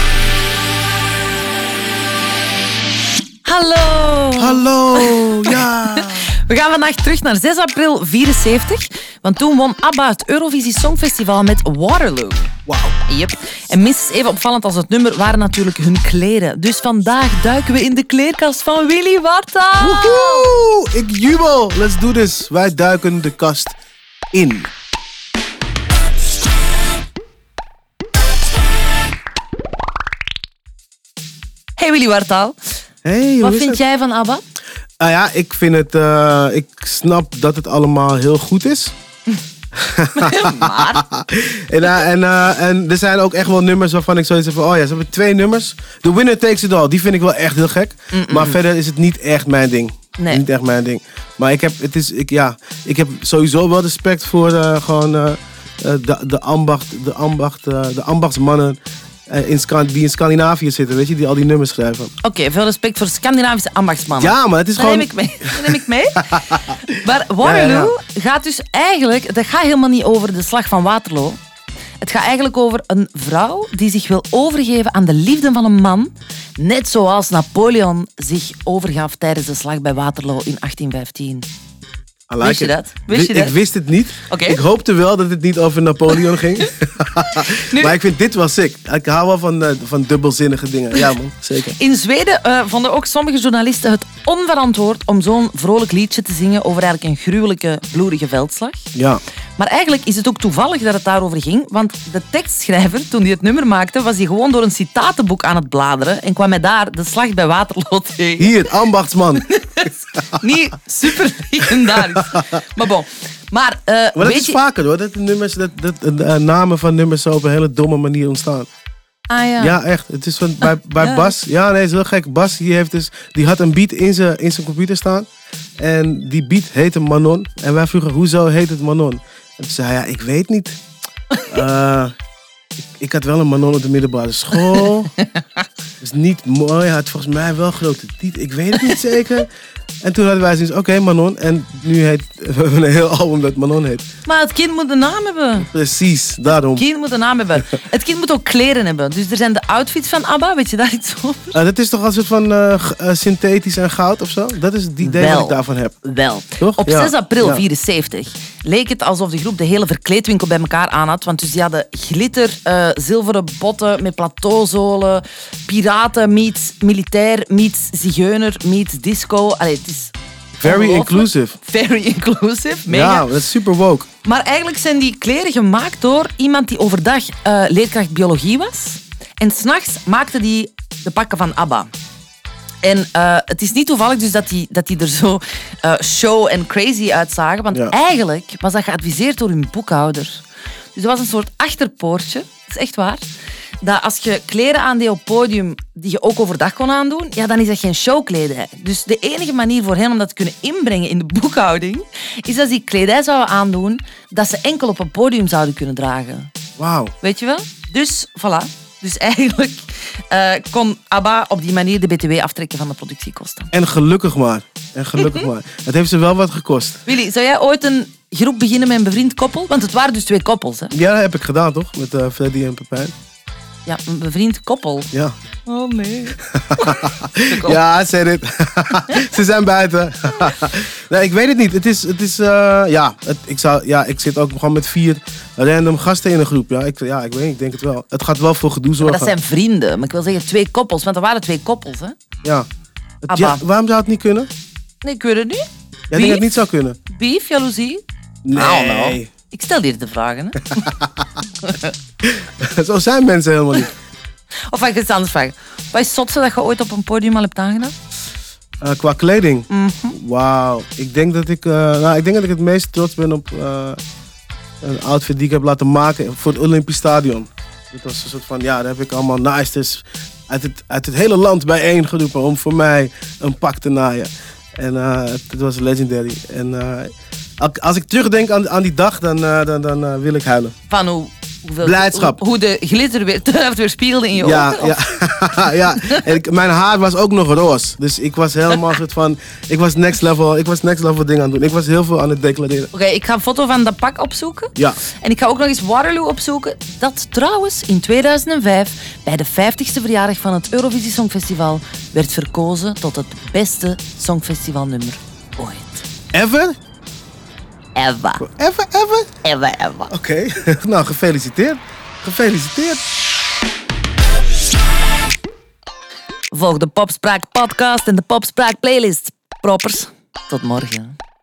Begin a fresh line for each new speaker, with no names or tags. gaan vandaag terug naar 6 april 74. Want toen won ABBA het Eurovisie Songfestival met Waterloo.
Wauw.
Yep. En minstens even opvallend als het nummer waren natuurlijk hun kleren. Dus vandaag duiken we in de kleerkast van Willy Warta.
Woehoe! Ik jubel. Let's do this. Wij duiken de kast in.
Hey Willy Wartaal,
Hey,
wat
hoe is
vind
het?
jij van ABBA?
Nou ja, ik vind het... eh, ik snap dat het allemaal heel goed is.
Maar,
En, eh, en, eh, en er zijn ook echt wel nummers waarvan ik zoiets heb van... Oh ja, ze hebben twee nummers. The Winner Takes It All. Die vind ik wel echt heel gek. Maar verder is het niet echt mijn ding.
Nee.
Niet echt mijn ding. Maar ik heb, het is, ik, ja, ik heb sowieso wel respect voor eh, gewoon, eh, eh, de, de, ambacht, de, ambacht, eh, de ambachtsmannen eh, in Scan- die in Scandinavië zitten. Weet je, die al die nummers schrijven.
oké, veel respect voor Scandinavische ambachtsmannen.
Ja, maar het is
Dat
gewoon...
neem ik mee. Dat neem ik mee. Maar Waterloo
Ja,
gaat dus eigenlijk... Dat gaat helemaal niet over de slag van Waterloo. Het gaat eigenlijk over een vrouw die zich wil overgeven aan de liefde van een man. Net zoals Napoleon zich overgaf tijdens de slag bij Waterloo in 1815.
I like
Wist je
it.
dat? Wist je
Wi-
dat?
Ik wist het niet.
Oké.
Ik hoopte wel dat het niet over Napoleon ging. Maar ik vind dit wel sick. Ik hou wel van, eh, van dubbelzinnige dingen. Ja man, zeker.
In Zweden eh, vonden ook sommige journalisten het onverantwoord om zo'n vrolijk liedje te zingen over eigenlijk een gruwelijke, bloedige veldslag.
Ja.
Maar eigenlijk is het ook toevallig dat het daarover ging, want de tekstschrijver, toen hij het nummer maakte, was hij gewoon door een citatenboek aan het bladeren en kwam hij daar de slag bij Waterloo tegen.
Hier, ambachtsman.
Niet super legendarisch. Maar bon. Maar, eh,
Maar dat
weet
is
je...
vaker hoor. Dat, de nummers, dat, dat de, eh, namen van nummers zo op een hele domme manier ontstaan.
Ah ja.
Ja, echt. Het is van, bij, bij
ja.
Bas. Ja, nee, het is heel gek. Bas die heeft dus, die had een beat in zijn in zijn computer staan. En die beat heette Manon. En wij vroegen, hoezo heet het Manon? En toen zei hij, ja, ik weet niet. Eh, ik, ik had wel een Manon op de middelbare school. is niet mooi. Hij had volgens mij wel grote titel. Ik weet het niet zeker. En toen hadden wij zoiets, oké Manon. En nu heet, we hebben een heel album dat Manon heet.
Maar het kind moet een naam hebben.
Precies, daarom.
Het kind moet een naam hebben. Het kind moet ook kleren hebben. Dus er zijn de outfits van ABBA, weet je daar iets over?
Eh, dat is toch een soort van eh, g- eh, synthetisch en goud of zo? Dat is het idee dat
Wel.
ik daarvan heb.
Wel.
Toch?
Op
Ja,
6 april
ja.
74 leek het alsof de groep de hele verkleedwinkel bij elkaar aan had. Want dus die hadden glitter, eh, zilveren botten met plateauzolen, piraten meets militair meets zigeuner meets disco. Allee, het is
Very
ongelooflijk.
inclusive.
Very inclusive, mega.
Ja, dat is super woke.
Maar eigenlijk zijn die kleren gemaakt door iemand die overdag eh, leerkracht biologie was. En s'nachts maakte die de pakken van ABBA. En eh, het is niet toevallig dus dat die, dat die er zo eh, show en crazy uitzagen. Want
Ja.
eigenlijk was dat geadviseerd door hun boekhouder. Dus er was een soort achterpoortje, dat is echt waar. Dat als je kleren aandeed op podium die je ook overdag kon aandoen, ja, dan is dat geen showkledij. Dus de enige manier voor hen om dat te kunnen inbrengen in de boekhouding, is dat ze die kledij zouden aandoen dat ze enkel op een podium zouden kunnen dragen.
Wauw.
Weet je wel? Dus, voilà. Dus eigenlijk eh, kon ABBA op die manier de BTW aftrekken van de productiekosten.
En gelukkig maar. En gelukkig maar. Het heeft ze wel wat gekost.
Willy, zou jij ooit een groep beginnen met een bevriend koppel? Want het waren dus twee koppels, hè?
Ja, dat heb ik gedaan toch? Met eh, Freddy en Pepijn.
Ja, een bevriend koppel.
Ja.
Oh nee.
Ja, zei dit. ze zijn buiten. nee, ik weet het niet. Het is, het is eh, ja, het, ik zou, ja, ik zit ook gewoon met vier random gasten in een groep. Ja, ik, ja, ik weet niet, ik denk het wel. Het gaat wel voor gedoe
Maar
zorgen.
dat zijn vrienden. Maar ik wil zeggen twee koppels, want er waren twee koppels, hè?
Ja. Het-
Abba.
ja. Waarom zou het niet kunnen?
Nee, ik weet het niet.
Jij denkt dat het niet zou kunnen?
Beef, jaloezie?
Nee.
I don't know. Ik stel hier de vragen, hè?
Zo zijn mensen helemaal niet.
Of ga ik iets anders vragen? Wat is het zotste dat je ooit op een podium al hebt aangedaan?
Eh, qua kleding. Wauw. Ik denk dat ik. eh, nou, ik denk dat ik het meest trots ben op eh, een outfit die ik heb laten maken voor het Olympisch Stadion. Dat was een soort van, ja, daar heb ik allemaal naaisters uit het, uit het hele land bijeen geroepen om voor mij een pak te naaien. En eh, het, het was legendary. En eh, al- als ik terugdenk aan, aan die dag, dan, eh, dan, dan eh, wil ik huilen.
Van hoe, hoeveel,
Blijdschap.
Hoe, hoe de glitter weer, werd weer spiegelde in je
ja,
ogen?
ja, ja. En ik- mijn haar was ook nog roze. Dus ik was helemaal soort van. Ik was next level, ik was next level dingen aan het doen. Ik was heel veel aan het declareren.
Oké, ik ga een foto van dat pak opzoeken.
Ja.
En ik ga ook nog eens Waterloo opzoeken. Dat trouwens in 2005, bij de 50ste verjaardag van het Eurovisie Songfestival, werd verkozen tot het beste songfestivalnummer ooit.
Ever?
Eva.
Ever, ever?
Eva, Eva.
Oké, nou gefeliciteerd. Gefeliciteerd.
Volg de Popspraak podcast en de Popspraak playlist. Proppers. Tot morgen.